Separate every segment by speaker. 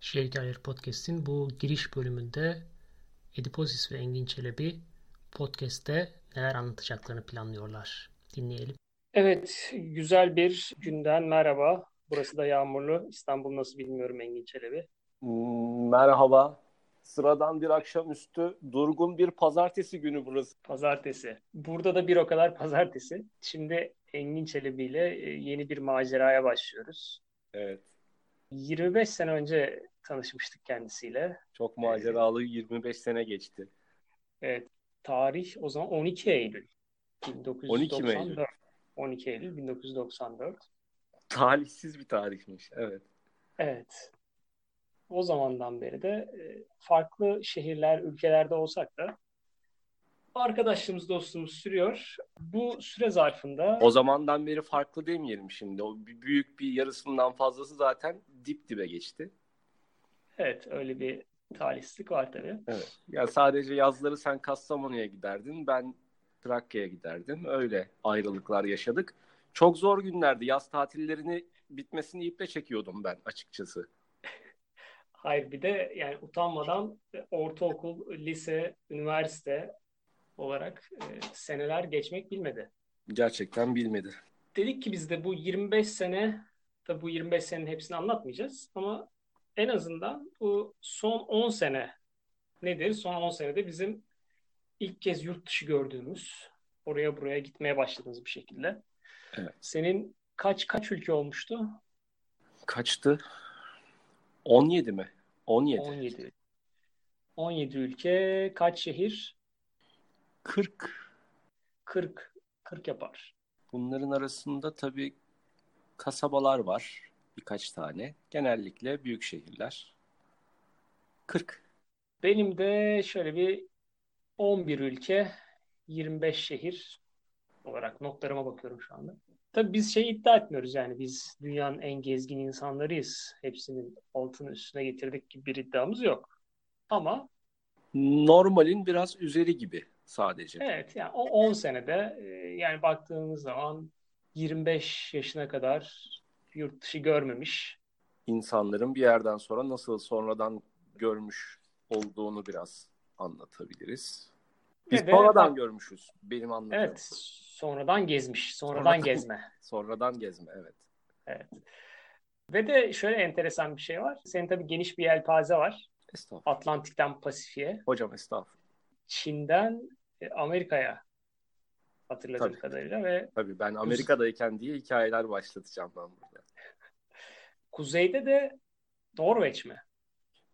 Speaker 1: Şey Dair Podcast'in bu giriş bölümünde Edipozis ve Engin Çelebi podcast'te neler anlatacaklarını planlıyorlar. Dinleyelim.
Speaker 2: Evet, güzel bir günden merhaba. Burası da yağmurlu. İstanbul nasıl bilmiyorum Engin Çelebi.
Speaker 3: Merhaba. Sıradan bir akşamüstü, durgun bir pazartesi günü burası.
Speaker 2: Pazartesi. Burada da bir o kadar pazartesi. Şimdi Engin Çelebi ile e, yeni bir maceraya başlıyoruz.
Speaker 3: Evet.
Speaker 2: 25 sene önce tanışmıştık kendisiyle.
Speaker 3: Çok maceralı 25 sene geçti.
Speaker 2: Evet. Tarih o zaman 12 Eylül 1994.
Speaker 3: 12 Eylül.
Speaker 2: 12 Eylül 1994.
Speaker 3: Talihsiz bir tarihmiş. Evet.
Speaker 2: Evet. O zamandan beri de e, farklı şehirler, ülkelerde olsak da arkadaşlığımız, dostluğumuz sürüyor. Bu süre zarfında
Speaker 3: O zamandan beri farklı demeyelim şimdi. O b- büyük bir yarısından fazlası zaten dip dibe geçti.
Speaker 2: evet öyle bir talihsizlik var tabii.
Speaker 3: Evet. Yani sadece yazları sen Kastamonu'ya giderdin, ben Trakya'ya giderdim. Öyle ayrılıklar yaşadık. Çok zor günlerdi. Yaz tatillerini bitmesini iple çekiyordum ben açıkçası.
Speaker 2: Hayır bir de yani utanmadan ortaokul, lise, üniversite olarak e, seneler geçmek bilmedi.
Speaker 3: Gerçekten bilmedi.
Speaker 2: dedik ki biz de bu 25 sene tabi bu 25 senenin hepsini anlatmayacağız ama en azından bu son 10 sene nedir? Son 10 senede bizim ilk kez yurt dışı gördüğümüz oraya buraya gitmeye başladığımız bir şekilde.
Speaker 3: Evet.
Speaker 2: Senin kaç kaç ülke olmuştu?
Speaker 3: Kaçtı? 17 mi? 17.
Speaker 2: 17. 17 ülke, kaç şehir?
Speaker 3: 40.
Speaker 2: 40 40 yapar.
Speaker 3: Bunların arasında tabii kasabalar var birkaç tane. Genellikle büyük şehirler. 40.
Speaker 2: Benim de şöyle bir 11 ülke, 25 şehir olarak notlarıma bakıyorum şu anda. Tabii biz şey iddia etmiyoruz yani biz dünyanın en gezgin insanlarıyız. Hepsinin altını üstüne getirdik gibi bir iddiamız yok. Ama
Speaker 3: Normalin biraz üzeri gibi sadece.
Speaker 2: evet yani o 10 senede e, yani baktığımız zaman 25 yaşına kadar yurt dışı görmemiş.
Speaker 3: İnsanların bir yerden sonra nasıl sonradan görmüş olduğunu biraz anlatabiliriz. Biz
Speaker 2: Ve de-
Speaker 3: sonradan görmüşüz. Benim anladığım.
Speaker 2: Evet sonradan gezmiş, sonradan
Speaker 3: Sonradan.
Speaker 2: gezme.
Speaker 3: Sonradan gezme evet.
Speaker 2: Ve de şöyle enteresan bir şey var. Senin tabii geniş bir yelpaze var.
Speaker 3: Estağfurullah.
Speaker 2: Atlantik'ten Pasifik'e,
Speaker 3: Hocam estağfurullah.
Speaker 2: Çin'den e, Amerika'ya hatırladığım
Speaker 3: Tabii.
Speaker 2: kadarıyla ve
Speaker 3: Tabii ben Amerika'dayken diye hikayeler başlatacağım ben burada.
Speaker 2: kuzeyde de Norveç mi?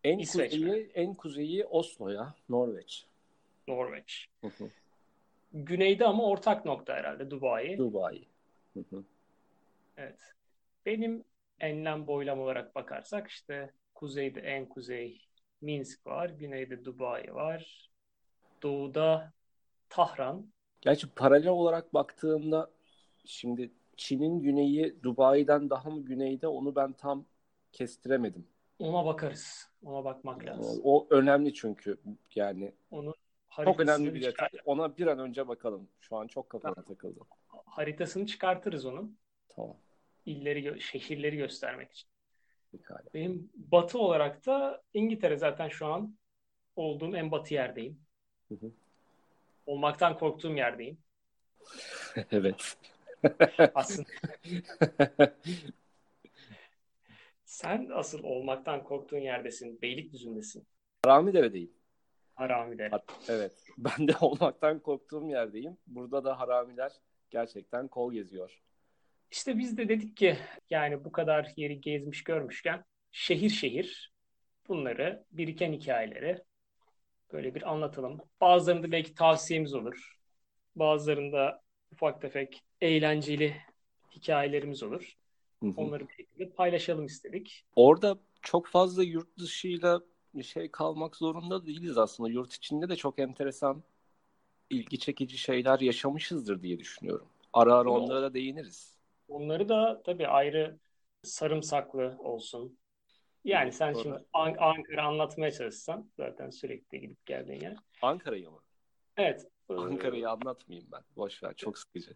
Speaker 3: En
Speaker 2: İsveç mi?
Speaker 3: kuzeyi, en kuzeyi Oslo'ya, Norveç.
Speaker 2: Norveç.
Speaker 3: Hı hı.
Speaker 2: Güneyde ama ortak nokta herhalde Dubai.
Speaker 3: Dubai. Hı hı.
Speaker 2: Evet. Benim enlem boylam olarak bakarsak işte kuzeyde en kuzey Minsk var, güneyde Dubai var, doğuda Tahran.
Speaker 3: Gerçi paralel olarak baktığımda şimdi Çin'in güneyi Dubai'den daha mı güneyde onu ben tam kestiremedim. Ee,
Speaker 2: Ona bakarız. Ona bakmak lazım.
Speaker 3: O önemli çünkü yani
Speaker 2: Onu
Speaker 3: çok önemli
Speaker 2: haritasını
Speaker 3: bir
Speaker 2: çıkar-
Speaker 3: detay. Ona bir an önce bakalım. Şu an çok kafama takıldı.
Speaker 2: haritasını çıkartırız onun.
Speaker 3: Tamam.
Speaker 2: illeri, gö- şehirleri göstermek için.
Speaker 3: Pekala.
Speaker 2: Benim batı olarak da İngiltere zaten şu an olduğum en batı yerdeyim.
Speaker 3: Hı hı.
Speaker 2: Olmaktan korktuğum yerdeyim.
Speaker 3: evet.
Speaker 2: Aslında sen asıl olmaktan korktuğun yerdesin. Beylikdüzü'ndesin.
Speaker 3: Haramidere'deyim.
Speaker 2: Harami'de.
Speaker 3: Hat- Evet. Ben de olmaktan korktuğum yerdeyim. Burada da haramiler gerçekten kol geziyor.
Speaker 2: İşte biz de dedik ki yani bu kadar yeri gezmiş görmüşken şehir şehir bunları biriken hikayeleri böyle bir anlatalım. Bazılarında belki tavsiyemiz olur. Bazılarında ufak tefek eğlenceli hikayelerimiz olur.
Speaker 3: Hı hı.
Speaker 2: Onları bir şekilde paylaşalım istedik.
Speaker 3: Orada çok fazla yurt dışıyla bir şey kalmak zorunda değiliz aslında. Yurt içinde de çok enteresan, ilgi çekici şeyler yaşamışızdır diye düşünüyorum. Ara ara
Speaker 2: Yo.
Speaker 3: onlara da değiniriz.
Speaker 2: Onları da tabii ayrı sarımsaklı olsun. Yani sen
Speaker 3: Doğru.
Speaker 2: şimdi An- Ankara anlatmaya çalışsan zaten sürekli gidip geldiğin yer.
Speaker 3: Ankara'yı mı?
Speaker 2: Evet.
Speaker 3: Ee,
Speaker 2: e,
Speaker 3: Ankara'yı anlatmayayım ben. Boş ver, çok sıkıcı.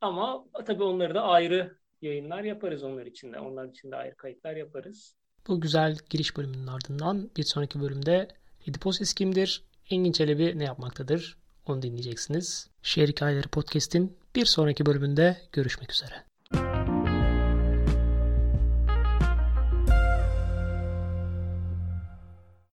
Speaker 2: Ama tabii onları da ayrı yayınlar yaparız onlar için de. Onlar için de ayrı kayıtlar yaparız.
Speaker 1: Bu güzel giriş bölümünün ardından bir sonraki bölümde Ediposis kimdir? Engin Çelebi ne yapmaktadır? Onu dinleyeceksiniz. Şehir Hikayeleri Podcast'in bir sonraki bölümünde görüşmek üzere.